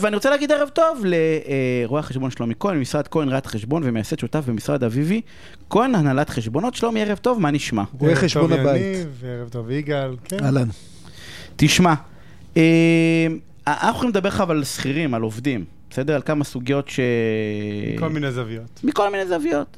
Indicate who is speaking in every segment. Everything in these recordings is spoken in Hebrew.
Speaker 1: ואני רוצה להגיד ערב טוב לרואה החשבון שלומי כהן, ממשרד כהן ראיית חשבון ומייסד שותף במשרד אביבי. כהן, הנהלת חשבונות, שלומי, ערב טוב, מה נשמע?
Speaker 2: רואה
Speaker 3: ערב
Speaker 2: חשבון
Speaker 3: טוב,
Speaker 2: הבית.
Speaker 3: יניב, ערב טוב יגאל, כן.
Speaker 2: אהלן.
Speaker 1: תשמע, אה, אנחנו יכולים לדבר לך אבל על שכירים, על עובדים, בסדר? על כמה סוגיות ש...
Speaker 3: כל מיני זוויות.
Speaker 1: מכל מיני זוויות.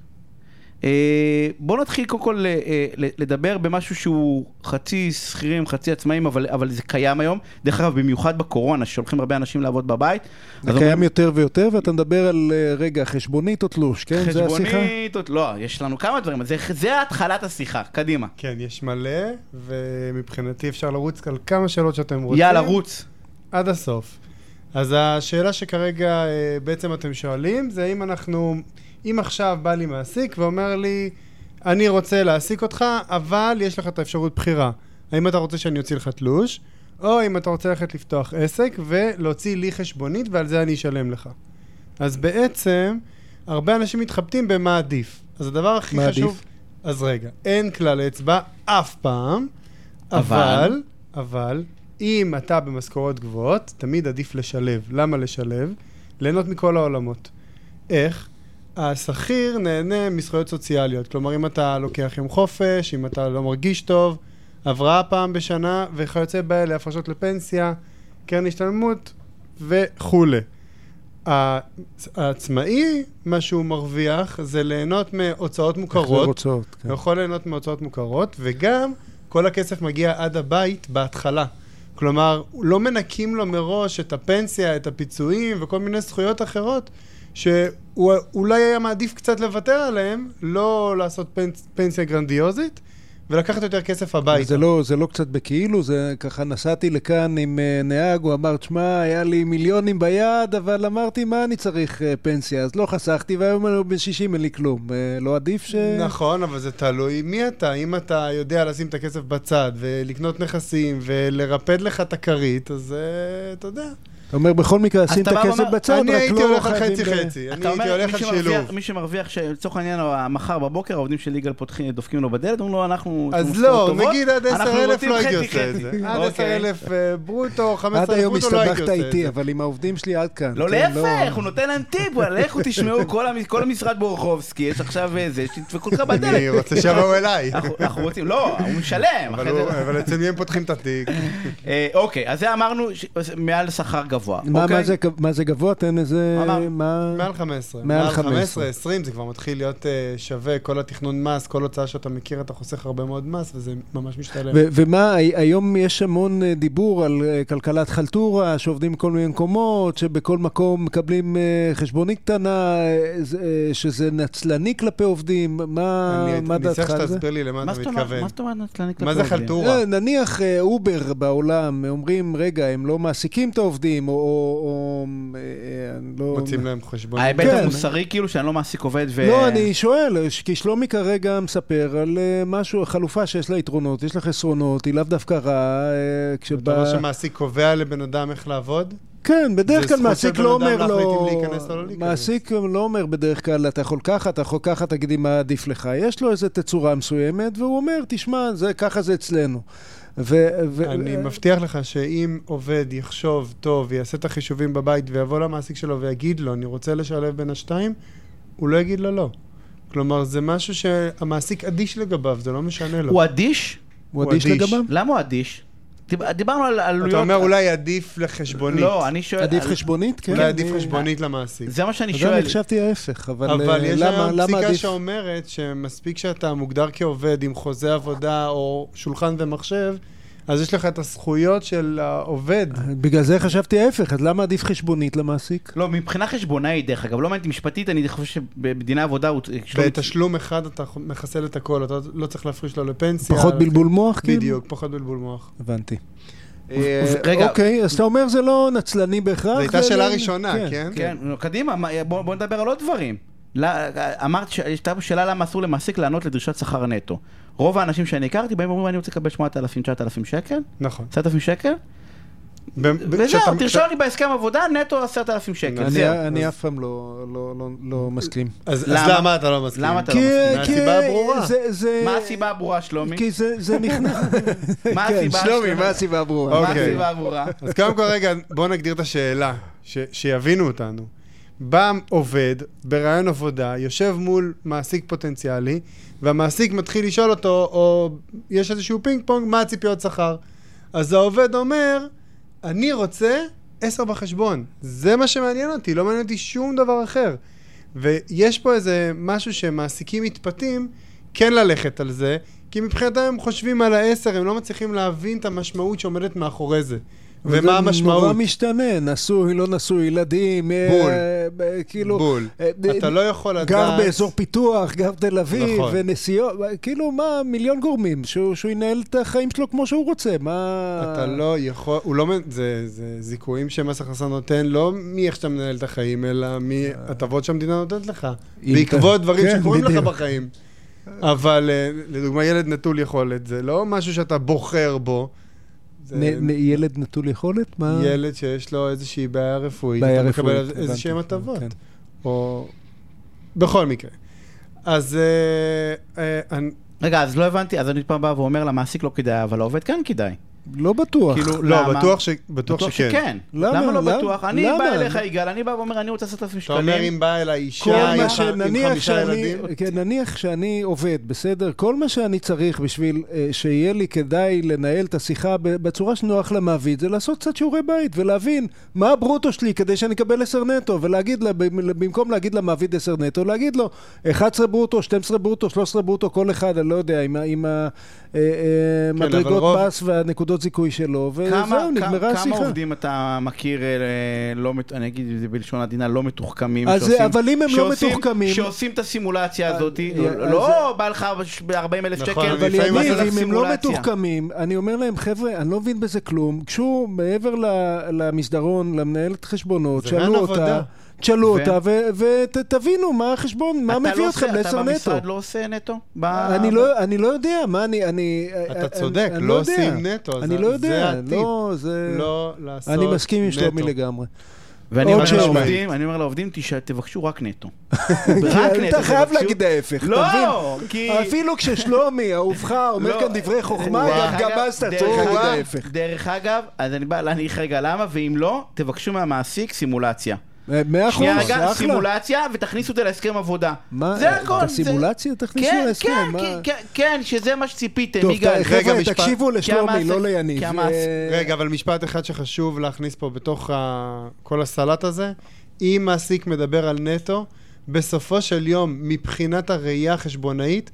Speaker 1: אה, בוא נתחיל קודם כל אה, אה, לדבר במשהו שהוא חצי שכירים, חצי עצמאים, אבל, אבל זה קיים היום. דרך אגב, במיוחד בקורונה, ששולחים הרבה אנשים לעבוד בבית.
Speaker 2: זה
Speaker 1: אז
Speaker 2: קיים יותר ויותר, ואתה מדבר על, אה, רגע, חשבונית או תלוש, כן? זה השיחה?
Speaker 1: חשבונית, עוד- לא, יש לנו כמה דברים, אז זה, זה התחלת השיחה, קדימה.
Speaker 3: כן, יש מלא, ומבחינתי אפשר לרוץ על כמה שאלות שאתם רוצים.
Speaker 1: יאללה, רוץ.
Speaker 3: עד הסוף. אז השאלה שכרגע אה, בעצם אתם שואלים, זה אם אנחנו, אם עכשיו בא לי מעסיק ואומר לי, אני רוצה להעסיק אותך, אבל יש לך את האפשרות בחירה. האם אתה רוצה שאני אוציא לך תלוש, או אם אתה רוצה ללכת לפתוח עסק ולהוציא לי חשבונית ועל זה אני אשלם לך. אז בעצם, הרבה אנשים מתחבטים במה עדיף. אז הדבר הכי
Speaker 2: מה
Speaker 3: חשוב...
Speaker 2: עדיף?
Speaker 3: אז רגע, אין כלל אצבע אף פעם,
Speaker 1: אבל?
Speaker 3: אבל, אבל, אם אתה במשכורות גבוהות, תמיד עדיף לשלב. למה לשלב? ליהנות מכל העולמות. איך? השכיר נהנה מזכויות סוציאליות. כלומר, אם אתה לוקח יום חופש, אם אתה לא מרגיש טוב, הבראה פעם בשנה, וכיוצא באלה, הפרשות לפנסיה, קרן השתלמות וכולי. הע- העצמאי, מה שהוא מרוויח זה ליהנות מהוצאות
Speaker 2: החזר
Speaker 3: מוכרות.
Speaker 2: הוצאות, כן.
Speaker 3: הוא יכול ליהנות מהוצאות מוכרות, וגם כל הכסף מגיע עד הבית בהתחלה. כלומר, לא מנקים לו מראש את הפנסיה, את הפיצויים וכל מיני זכויות אחרות, שהוא אולי היה מעדיף קצת לוותר עליהם, לא לעשות פנס, פנסיה גרנדיוזית, ולקחת יותר כסף הביתה.
Speaker 2: זה לא, זה לא קצת בכאילו, זה ככה נסעתי לכאן עם אה, נהג, הוא אמר, תשמע, היה לי מיליונים ביד, אבל אמרתי, מה אני צריך אה, פנסיה? אז לא חסכתי, והיום אני בן 60, אין לי כלום. אה, לא עדיף ש...
Speaker 3: נכון, אבל זה תלוי מי אתה. אם אתה יודע לשים את הכסף בצד, ולקנות נכסים, ולרפד לך את הכרית, אז אה, אתה יודע.
Speaker 2: אתה אומר, בכל מקרה,
Speaker 1: אז
Speaker 2: שים את
Speaker 1: אתה בא
Speaker 2: הכסף
Speaker 1: ואומר,
Speaker 2: בצד, רק
Speaker 3: אני
Speaker 2: לא אה,
Speaker 3: הייתי הולך על
Speaker 2: חייבים ב-
Speaker 3: חצי-חצי. אני
Speaker 1: אתה
Speaker 3: הייתי
Speaker 1: אומר,
Speaker 3: הולך
Speaker 1: מי
Speaker 3: על
Speaker 1: שמרוויח,
Speaker 3: שילוב.
Speaker 1: מי שמרוויח, ש- לצורך העניין, ה- מחר בבוקר, העובדים של יגאל פותחים, דופקים לו בדלת, אומרים לו, אנחנו... יש
Speaker 3: אז
Speaker 1: לנו משכורות
Speaker 3: לא,
Speaker 1: טובות,
Speaker 3: נגיד עד
Speaker 1: אנחנו
Speaker 3: 10,000
Speaker 1: רוצים
Speaker 3: לא הייתי
Speaker 1: חצי-חצי.
Speaker 3: עושה את זה. עד
Speaker 1: אוקיי.
Speaker 3: 10,000 אה, ברוטו,
Speaker 2: עד
Speaker 3: 15,000
Speaker 2: היום
Speaker 3: ברוטו לא הייתי
Speaker 2: הסתבכת
Speaker 3: עושה את
Speaker 2: איתי,
Speaker 3: זה.
Speaker 2: אבל עם העובדים שלי עד כאן.
Speaker 1: לא,
Speaker 2: כן,
Speaker 1: להפך, הוא נותן להם טיפ, הוא, לכו תשמעו, כל המ- כל המשרד בורחובסקי, יש עכשיו אה, זה, שתדפקו לך בדלת.
Speaker 3: אני רוצה שיבואו אליי.
Speaker 1: אנחנו אנחנו רוצים, לא, הוא משלם.
Speaker 3: אבל
Speaker 1: אחרי זה-
Speaker 3: הוא- אבל אצל מי הם פותחים את התיק?
Speaker 1: אה, אוקיי, אז זה אמרנו ש- מעל שכר גבוה.
Speaker 2: מה-
Speaker 1: אוקיי?
Speaker 2: מה זה- מה זה גבוה? תן איזה...
Speaker 1: אמר-
Speaker 2: מה-
Speaker 3: מעל 15.
Speaker 2: מעל
Speaker 3: מעל
Speaker 2: 15,
Speaker 3: 15, 20, זה כבר מתחיל להיות אה, שווה, כל התכנון מס, כל הוצאה שאתה מכיר, אתה חוסך הרבה מאוד מס, וזה ממש משתלם.
Speaker 2: ו- ומה, הי- היום יש המון אה, דיבור על אה, כלכלת חלטורה, שעובדים בכל מיני מקומות, שבכל מקום מקבלים אה, חשבונית קטנה, אה, זה- אה, שזה נצלני כלפי עובדים, מה
Speaker 3: אני
Speaker 2: מה
Speaker 3: אני
Speaker 2: דעתך
Speaker 3: צריך
Speaker 2: על זה?
Speaker 3: שתסביר לי למה
Speaker 1: מה
Speaker 3: אתה
Speaker 1: זאת אומרת?
Speaker 3: מתכוון.
Speaker 1: מה זאת אומרת נטלני
Speaker 3: מה
Speaker 1: כלפי
Speaker 3: זה
Speaker 1: עובדים?
Speaker 3: חלטורה?
Speaker 2: אה, נניח אה, אובר בעולם, אומרים, רגע, הם לא מעסיקים את העובדים, או- או... או, אה, אני לא...
Speaker 3: מוצאים להם חשבון.
Speaker 1: ההיבט
Speaker 2: כן.
Speaker 1: המוסרי כאילו שאני לא מעסיק עובד ו...
Speaker 2: לא, אני שואל, ש- כי שלומי כרגע מספר על אה, משהו, חלופה שיש לה יתרונות, יש לה חסרונות, היא לאו דווקא רעה, אה,
Speaker 3: אתה לא אומר
Speaker 2: כשבא...
Speaker 3: שמעסיק קובע לבן אדם איך לעבוד?
Speaker 2: כן, בדרך
Speaker 3: זה
Speaker 2: כלל
Speaker 3: זכות
Speaker 2: מעסיק
Speaker 3: של
Speaker 2: לא
Speaker 3: בן אדם
Speaker 2: אומר
Speaker 3: להחליט
Speaker 2: לו...
Speaker 3: אם להיכנס או לא להיכנס.
Speaker 2: מעסיק לא אומר בדרך כלל, אתה יכול ככה, אתה יכול ככה, תגידי מה עדיף לך. יש לו איזו תצורה מסוימת, והוא אומר, תשמע, זה, ככה זה אצלנו. ו... ו- אה,
Speaker 3: אני מבטיח לך שאם עובד יחשוב טוב, יעשה את החישובים בבית ויבוא למעסיק שלו ויגיד לו, אני רוצה לשלב בין השתיים, הוא לא יגיד לו לא. כלומר, זה משהו שהמעסיק אדיש לגביו, זה לא משנה לו.
Speaker 1: הוא אדיש?
Speaker 2: הוא
Speaker 3: הוא
Speaker 2: אדיש
Speaker 3: אדיש.
Speaker 2: לגביו?
Speaker 1: למה הוא אדיש? דיב- דיברנו על עלויות...
Speaker 3: אתה אומר אולי עדיף לחשבונית.
Speaker 1: לא, אני שואל...
Speaker 2: עדיף
Speaker 1: על-
Speaker 2: חשבונית? כן.
Speaker 3: אולי עדיף
Speaker 2: אני-
Speaker 3: חשבונית למעסיק.
Speaker 1: זה מה שאני
Speaker 2: אז אני
Speaker 1: שואל.
Speaker 2: חשבתי ההפך, אבל,
Speaker 3: אבל
Speaker 2: אה,
Speaker 3: יש
Speaker 2: למה,
Speaker 3: היום
Speaker 2: למה
Speaker 3: פסיקה
Speaker 2: עדיף?
Speaker 3: שאומרת שמספיק שאתה מוגדר כעובד עם חוזה עבודה או שולחן ומחשב, אז יש לך את הזכויות של העובד.
Speaker 2: בגלל זה חשבתי ההפך, אז למה עדיף חשבונית למעסיק?
Speaker 1: לא, מבחינה חשבונאית, דרך אגב, לא מעניין אותי משפטית, אני חושב שבדיני עבודה הוא...
Speaker 3: בתשלום אחד אתה מחסל את הכל, אתה לא צריך להפריש לו לפנסיה. כן.
Speaker 2: פחות בלבול מוח? כאילו?
Speaker 3: בדיוק, פחות בלבול מוח.
Speaker 2: הבנתי.
Speaker 3: אה,
Speaker 1: רגע,
Speaker 2: אוקיי, אז אתה אומר זה לא נצלני בהכרח.
Speaker 3: זו הייתה
Speaker 2: זה- לא-
Speaker 3: שאלה ראשונה, כן?
Speaker 1: כן, נו, קדימה, מה- בוא בוא נדבר על עוד דברים. לא, אמרת, ש- הייתה פה שאלה למה אסור למעסיק לענות לדרישת שכר נטו. רוב האנשים שאני הכרתי באים ואומרים, אני רוצה לקבל 8,000, 9,000 שקל,
Speaker 3: נכון.
Speaker 1: 10,000 שקל,
Speaker 3: ב- ב-
Speaker 1: וזהו,
Speaker 3: כשאתה-
Speaker 1: תרשום לי בהסכם עבודה נטו 10,000 שקל,
Speaker 2: אני-
Speaker 1: זהו.
Speaker 2: אני אף פעם לא- לא- לא- לא מסכים.
Speaker 3: אז אז
Speaker 1: למה?
Speaker 3: למה אתה לא מסכים?
Speaker 1: למה אתה-
Speaker 2: כי-
Speaker 1: מסכים.
Speaker 2: כי-
Speaker 3: מהסיבה הברורה.
Speaker 2: זה- זה-
Speaker 1: מה הסיבה הברורה, שלומי?
Speaker 2: כי זה זה נכנס...
Speaker 1: מה הסיבה
Speaker 2: כן, שלומי,
Speaker 1: שלומי?
Speaker 2: מה הסיבה הברורה?
Speaker 1: מה
Speaker 3: אוקיי.
Speaker 1: הסיבה הברורה?
Speaker 3: אז קודם כל רגע, בוא נגדיר את השאלה ש, שיבינו אותנו. בא עובד ברעיון עבודה, יושב מול מעסיק פוטנציאלי, והמעסיק מתחיל לשאול אותו, או יש איזשהו פינג פונג, מה הציפיות שכר? אז העובד אומר, אני רוצה עשר בחשבון. זה מה שמעניין אותי, לא מעניין אותי שום דבר אחר. ויש פה איזה משהו שמעסיקים מתפתים כן ללכת על זה, כי מבחינתם הם חושבים על העשר, הם לא מצליחים להבין את המשמעות שעומדת מאחורי זה. ומה
Speaker 2: זה נורא
Speaker 3: המשמעות?
Speaker 2: משתנה, נשוי, לא נשוי, ילדים, אה,
Speaker 3: בול.
Speaker 2: אה, כאילו...
Speaker 3: בול.
Speaker 2: אה,
Speaker 3: אתה
Speaker 2: אה,
Speaker 3: לא יכול לדעת...
Speaker 2: גר באזור פיתוח, גר בתל אביב,
Speaker 3: נכון.
Speaker 2: ונסיעות, כאילו מה, מיליון גורמים, שהוא, שהוא ינהל את החיים שלו כמו שהוא רוצה, מה...
Speaker 3: אתה לא יכול, הוא לא, מ- זה, זה זיכויים שמס הכנסה נותן לא מאיך שאתה מנהל את החיים, אלא מהטבות שהמדינה נותנת לך.
Speaker 2: אם
Speaker 3: בעקבות
Speaker 2: אתה-
Speaker 3: דברים
Speaker 2: כן,
Speaker 3: שקורים לך
Speaker 2: בדיוק.
Speaker 3: בחיים. אבל אה, לדוגמה, ילד נטול יכולת, זה לא משהו שאתה בוחר בו. זה
Speaker 2: נ, נ, ילד נטול יכולת? מה?
Speaker 3: ילד שיש לו איזושהי בעיה רפואית,
Speaker 2: בעיה
Speaker 3: אתה
Speaker 2: רפואית,
Speaker 3: מקבל איזה
Speaker 2: הבנתי.
Speaker 3: שהם הטבות.
Speaker 2: כן.
Speaker 3: או... בכל מקרה. אז אה, אה, אני-
Speaker 1: רגע, אז לא הבנתי, אז אני פעם בא ואומר למעסיק לא כדאי, אבל לעובד כן כדאי.
Speaker 2: לא בטוח.
Speaker 1: כאילו,
Speaker 3: לא,
Speaker 1: למה?
Speaker 3: בטוח ש- בטוח
Speaker 1: בטוח
Speaker 3: שכן.
Speaker 1: שכן.
Speaker 2: למה?
Speaker 1: למה לא
Speaker 2: למה?
Speaker 1: בטוח? אני בא
Speaker 2: למה?
Speaker 1: אליך, יגאל, אני בא ואומר, אני רוצה לעשות אלפים
Speaker 3: אתה אומר,
Speaker 1: שקלים.
Speaker 3: אם באה אליי אישה
Speaker 2: כל
Speaker 3: עם
Speaker 2: מה
Speaker 3: ח- עם
Speaker 2: שנניח
Speaker 3: חמישה
Speaker 2: שאני,
Speaker 3: ילדים...
Speaker 2: כן, נניח שאני עובד, בסדר? כל מה שאני צריך בשביל אה, שיהיה לי כדאי לנהל את השיחה ב- בצורה שנוח למעביד, זה לעשות קצת שיעורי בית ולהבין מה הברוטו שלי כדי שאני אקבל 10 נטו, ולהגיד, לה- במ- במקום להגיד למעביד 10 נטו, להגיד לו 11 ברוטו, 12 ברוטו, 13 ברוטו, כל אחד, אני לא יודע, עם, ה- אה, עם
Speaker 3: כן, אבל
Speaker 2: המדרגות
Speaker 3: רוב-
Speaker 2: מס והנקודות זיכוי שלו,
Speaker 1: כמה-
Speaker 2: וזהו, נגמרה
Speaker 1: כ- כמה
Speaker 2: השיחה.
Speaker 1: עובדים אתה מכיר, אה, לא, מת- אני אגיד את זה בלשון עדינה, לא מתוחכמים,
Speaker 2: אז,
Speaker 1: שעושים-
Speaker 2: אבל אם הם לא
Speaker 1: שעושים-
Speaker 2: מתוחכמים-
Speaker 1: שעושים את הסימולציה הזאת,
Speaker 2: אה,
Speaker 1: לא בא לך ב-40 אלף
Speaker 3: נכון,
Speaker 1: שקל,
Speaker 2: אבל
Speaker 3: לפעמים
Speaker 2: יניב,
Speaker 1: עשו לך
Speaker 2: אם הם לא
Speaker 1: סימולציה.
Speaker 2: מתוחכמים, אני אומר להם, חבר'ה, אני לא מבין בזה כלום. גשו מעבר ל- למסדרון, למנהלת חשבונות,
Speaker 3: זה
Speaker 2: שאלו
Speaker 3: רעיון עבודה.
Speaker 2: אותה, תשאלו
Speaker 1: ו-
Speaker 2: אותה, ותבינו מה החשבון, מה
Speaker 1: אתה לא
Speaker 2: מביא
Speaker 1: עושה-
Speaker 2: אתכם לעשר
Speaker 1: אתה
Speaker 2: נטו.
Speaker 1: במשרד לא עושה נטו? ב-
Speaker 2: אני לא- אני לא יודע, מה אני... אני-
Speaker 3: אתה
Speaker 2: אני-
Speaker 3: צודק,
Speaker 2: אני
Speaker 3: לא
Speaker 2: יודע.
Speaker 3: עושים נטו.
Speaker 2: אני
Speaker 3: זה-
Speaker 2: לא
Speaker 3: זה
Speaker 2: יודע,
Speaker 3: הטיפ.
Speaker 2: לא, זה...
Speaker 3: לא לעשות
Speaker 2: אני מסכים עם שלומי
Speaker 3: נטו.
Speaker 2: לגמרי.
Speaker 1: ואני
Speaker 2: עוד
Speaker 1: אומר
Speaker 2: שאלה.
Speaker 1: לעובדים, אני אומר לעובדים, תש- תבקשו רק נטו.
Speaker 2: אתה חייב
Speaker 1: תבקשו-
Speaker 2: להגיד ההפך, אתה מבין?
Speaker 1: לא, כי...
Speaker 2: אפילו כששלומי, אהובך, אומר
Speaker 1: לא,
Speaker 2: כאן דברי חוכמה,
Speaker 1: דרך
Speaker 2: גם
Speaker 1: אגב-
Speaker 2: גם אז אתה
Speaker 1: דרך
Speaker 2: צריך להגיד
Speaker 1: אגב-
Speaker 2: ההפך.
Speaker 1: דרך אגב, אז אני בא להניח רגע למה, ואם לא, תבקשו מהמעסיק סימולציה.
Speaker 2: אה, מאה אחוז,
Speaker 1: שנייה
Speaker 2: זה
Speaker 1: רגע,
Speaker 2: אחלה.
Speaker 1: סימולציה, ותכניסו את זה להסכם עבודה.
Speaker 2: מה, אה,
Speaker 1: זה הכל.
Speaker 2: את
Speaker 1: זה-
Speaker 2: הסימולציה תכניסו
Speaker 1: כן,
Speaker 2: להסכם,
Speaker 1: כן,
Speaker 2: מה?
Speaker 1: כן, כן, כן, שזה מה שציפיתם,
Speaker 2: טוב,
Speaker 1: יגאל.
Speaker 2: ת- חבר'ה,
Speaker 3: משפט-
Speaker 2: תקשיבו לשלומי,
Speaker 1: המעסיק-
Speaker 2: לא ליניב.
Speaker 1: כי המעסיק-
Speaker 2: אה,
Speaker 3: רגע, אבל משפט אחד שחשוב להכניס פה בתוך ה... כל הסלט הזה, אם מעסיק מדבר על נטו, בסופו של יום, מבחינת הראייה החשבונאית,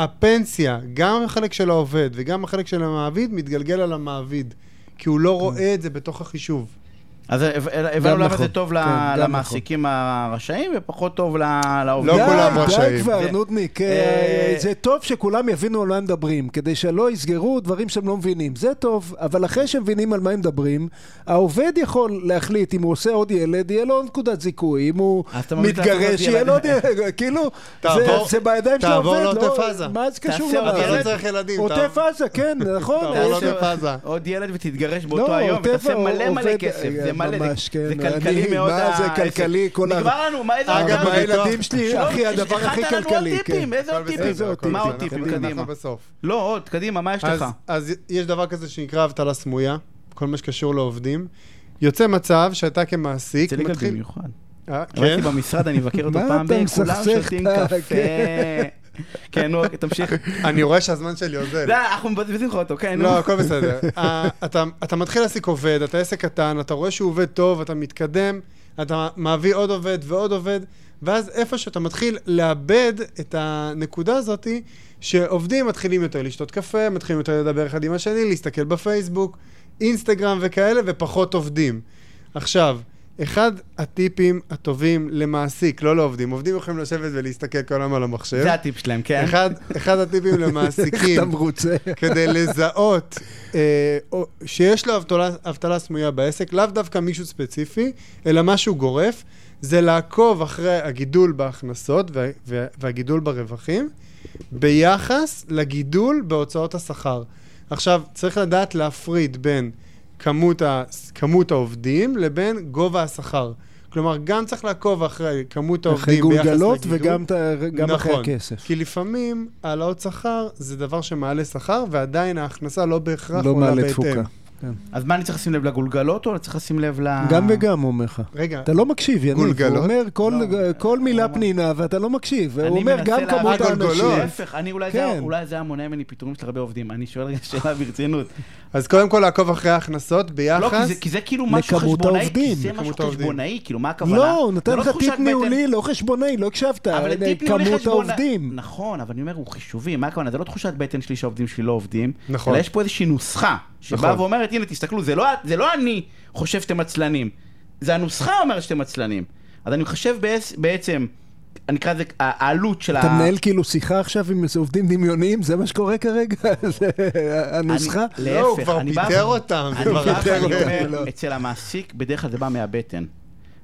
Speaker 3: הפנסיה, גם החלק של העובד וגם החלק של המעביד, מתגלגל על המעביד, כי הוא
Speaker 2: כן.
Speaker 3: לא רואה את זה בתוך החישוב.
Speaker 1: אז הב- הבנו למה
Speaker 2: נכון,
Speaker 1: זה טוב
Speaker 2: כן,
Speaker 1: ל-
Speaker 2: גם
Speaker 1: למעסיקים הרשעים, ופחות טוב ל- לעובדים.
Speaker 3: לא
Speaker 2: די,
Speaker 3: כולם
Speaker 2: די
Speaker 3: רשאים.
Speaker 2: כבר,
Speaker 1: זה-
Speaker 2: נודניק. אה,
Speaker 1: אה,
Speaker 2: זה טוב שכולם יבינו על מה הם מדברים, כדי שלא יסגרו דברים שהם לא מבינים. זה טוב, אבל אחרי שהם מבינים על מה הם מדברים, העובד יכול להחליט אם הוא עושה עוד ילד, יהיה לו עוד נקודת זיכוי. אם הוא
Speaker 1: אז אתה ממליץ לעשות
Speaker 2: מתגרש, יהיה
Speaker 1: ילד.
Speaker 2: לו עוד ילד. כאילו, זה-
Speaker 3: תעבור-
Speaker 2: זה בידיים של
Speaker 3: תעבור
Speaker 2: העובד. לא-
Speaker 3: לעוטף עזה.
Speaker 2: מה זה קשור
Speaker 1: תעשה עוד
Speaker 2: לדבר
Speaker 3: אתה
Speaker 1: ילד.
Speaker 3: לא
Speaker 2: הזה?
Speaker 3: צריך ילדים. אתה-
Speaker 2: עוטף עזה, כן, נכון.
Speaker 3: תעבור
Speaker 1: לא,
Speaker 2: יש-
Speaker 3: לעוטף עזה. עוטף
Speaker 1: עוד ילד ותתגרש באותו
Speaker 2: לא,
Speaker 1: היום,
Speaker 2: עוטף
Speaker 1: ותעשה מלא מלא
Speaker 2: עובד-
Speaker 1: כסף,
Speaker 2: אה,
Speaker 1: זה מלא, זה-
Speaker 2: ממש, כן.
Speaker 1: זה כלכלי
Speaker 2: אני-
Speaker 1: מאוד.
Speaker 2: מה זה
Speaker 1: העסק.
Speaker 2: כלכלי? כל ה-
Speaker 1: נגמר לנו, מה איזה...
Speaker 3: אגב,
Speaker 2: אגב,
Speaker 1: עבודה?
Speaker 2: הילדים שלי,
Speaker 1: לא,
Speaker 2: אחי, הדבר
Speaker 1: הכנת
Speaker 2: הכי
Speaker 1: לנו
Speaker 2: כלכלי.
Speaker 1: עוד טיפים,
Speaker 2: כן.
Speaker 1: איזה עוד
Speaker 3: הכל
Speaker 1: טיפים?
Speaker 3: בסדר,
Speaker 2: איזה עוד
Speaker 3: הכל
Speaker 1: מה
Speaker 2: טיפים?
Speaker 1: עוד טיפים?
Speaker 3: אנחנו-
Speaker 1: קדימה.
Speaker 3: אנחנו בסוף.
Speaker 1: לא, עוד, קדימה, מה יש
Speaker 3: אז,
Speaker 1: לך?
Speaker 3: אז יש דבר כזה שנקרא אבטלה סמויה, כל מה שקשור לעובדים. יוצא מצב שאתה כמעסיק
Speaker 1: אצל יגאל
Speaker 3: מתחיל...
Speaker 1: במיוחד.
Speaker 3: אה,
Speaker 1: עבדתי
Speaker 3: כן?
Speaker 1: במשרד, אני אבקר אותו
Speaker 2: מה
Speaker 1: פעם,
Speaker 2: אתה
Speaker 1: ב- כולם
Speaker 2: מסכסך
Speaker 1: שותים
Speaker 2: את ה-
Speaker 1: קפה.
Speaker 2: כן.
Speaker 1: כן, נו, תמשיך.
Speaker 3: אני רואה שהזמן שלי עוזר.
Speaker 1: לא, אנחנו מבזבזים לך אותו, כן, נו.
Speaker 3: לא, הכל בסדר. אה, אתה- אתה מתחיל להעסיק עובד, אתה עסק קטן, אתה רואה שהוא עובד טוב, אתה מתקדם, אתה מביא עוד עובד ועוד עובד, ואז איפה שאתה מתחיל לאבד את הנקודה הזאתי, שעובדים מתחילים יותר לשתות קפה, מתחילים יותר לדבר אחד עם השני, להסתכל בפייסבוק, אינסטגרם וכאלה, ופחות עובדים. עכשיו, אחד הטיפים הטובים למעסיק, לא לעובדים, עובדים יכולים לשבת ולהסתכל כל היום על המחשב.
Speaker 1: זה הטיפ שלהם, כן.
Speaker 3: אחד, אחד הטיפים
Speaker 2: אתה
Speaker 3: למעסיקים,
Speaker 2: מרוצה.
Speaker 3: כדי לזהות אה, או- שיש לו אבטלה, אבטלה סמויה בעסק, לאו דווקא מישהו ספציפי, אלא משהו גורף, זה לעקוב אחרי הגידול בהכנסות וה, וה, והגידול ברווחים, ביחס לגידול בהוצאות השכר. עכשיו, צריך לדעת להפריד בין כמות, ה, כמות העובדים לבין גובה השכר. כלומר, גם צריך לעקוב אחרי כמות
Speaker 2: אחרי
Speaker 3: העובדים ביחס לגידול.
Speaker 2: גולגלות וגם את ה- גם אחרי
Speaker 1: נכון.
Speaker 2: הכסף.
Speaker 3: נכון, כי לפעמים העלאות שכר זה דבר שמעלה שכר, ועדיין ההכנסה לא בהכרח
Speaker 2: לא
Speaker 3: עולה
Speaker 1: נכון,
Speaker 2: מעלה
Speaker 3: בהתאם.
Speaker 2: תפוקה. כן.
Speaker 1: אז מה אני צריך לשים לב לגולגלות או אני צריך לשים לב ל...
Speaker 2: גם וגם, הוא אומר לך.
Speaker 3: רגע,
Speaker 2: אתה לא מקשיב, יניב. הוא
Speaker 4: גולגלות?
Speaker 2: אומר כל-
Speaker 1: לא,
Speaker 2: כל מילה
Speaker 1: הוא אומר-
Speaker 2: פנינה, ואתה לא מקשיב.
Speaker 1: אני
Speaker 2: הוא אומר
Speaker 1: מנסה
Speaker 2: גם
Speaker 1: להבין-
Speaker 2: כמות
Speaker 4: אה, גולגולות.
Speaker 2: האנשים. לא,
Speaker 1: להפך, אני אולי, זה,
Speaker 2: כן.
Speaker 1: אולי זה היה מונע ממני פיטורים של הרבה עובדים. אני שואל רגע שאלה ברצינות.
Speaker 3: אז קודם כל לעקוב אחרי ההכנסות ביחס.
Speaker 1: לא, כי זה, כי זה כאילו משהו
Speaker 2: לכמות
Speaker 1: חשבונאי, כי
Speaker 2: העובדים.
Speaker 1: זה משהו
Speaker 3: לכמות העובדים.
Speaker 1: חשבונאי, כאילו, מה הכוונה?
Speaker 2: לא, הוא
Speaker 1: זה
Speaker 2: נתן לך
Speaker 1: תחושת
Speaker 2: טיפ
Speaker 1: בטן.
Speaker 2: ניהולי, לא חשבוני, לא הקשבת.
Speaker 1: אבל
Speaker 2: הנה,
Speaker 1: טיפ ניהולי
Speaker 2: כמות
Speaker 1: חשבונה-
Speaker 2: העובדים.
Speaker 1: נכון, אבל אני אומר, הוא חישובי, מה הכוונה? זה לא תחושת בטן שלי שהעובדים שלי לא עובדים,
Speaker 3: נכון.
Speaker 1: אלא יש פה איזושהי נוסחה, שבאה
Speaker 3: נכון.
Speaker 1: ואומרת, הנה, תסתכלו, זה לא- זה לא אני חושב שאתם עצלנים, זה הנוסחה אומרת שאתם עצלנים. אז אני מחשב בעצ- בעצם, אני אקרא לזה, ה- העלות של ה...
Speaker 2: אתה מנהל כאילו שיחה עכשיו עם איזה עובדים דמיוניים? זה מה שקורה כרגע? זה הנוסחה?
Speaker 1: אני-
Speaker 3: לא, הוא
Speaker 1: להפך,
Speaker 3: כבר
Speaker 1: אני בא-
Speaker 3: פיטר אותם. זה
Speaker 1: אני
Speaker 3: כבר
Speaker 1: בא
Speaker 3: פיטר
Speaker 1: ואני
Speaker 3: אותם.
Speaker 2: לא.
Speaker 1: אומר, אצל המעסיק, בדרך כלל זה בא מהבטן,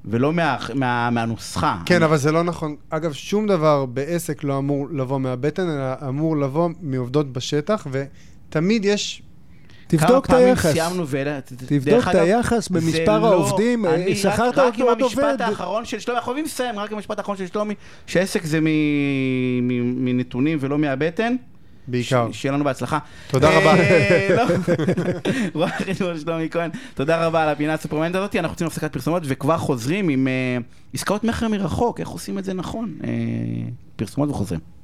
Speaker 1: ולא מה- מה- מהנוסחה.
Speaker 3: כן, אבל זה לא נכון. אגב, שום דבר בעסק לא אמור לבוא מהבטן, אלא אמור לבוא מעובדות בשטח, ותמיד יש...
Speaker 2: תבדוק את
Speaker 1: כמה
Speaker 2: היחס.
Speaker 1: פעמים סיימנו ואלה...
Speaker 2: תבדוק את היחס במספר העובדים, אה, שכרת
Speaker 1: עוד
Speaker 2: עוד
Speaker 1: לא- רק עם
Speaker 2: עובד.
Speaker 1: המשפט האחרון של שלומי, אנחנו חייבים לסיים, רק עם המשפט האחרון של שלומי, שעסק זה מ- מ- מנתונים ולא מהבטן.
Speaker 3: בעיקר.
Speaker 1: ש- שיהיה לנו בהצלחה.
Speaker 3: תודה
Speaker 1: אה,
Speaker 3: רבה.
Speaker 1: לא. רואה חשבון שלומי כהן, תודה רבה על הפינה הסופרמנט הזאת, אנחנו עושים הפסקת פרסומות וכבר חוזרים עם אה, עסקאות מכר מרחוק, איך עושים את זה נכון. אה, פרסומות וחוזרים.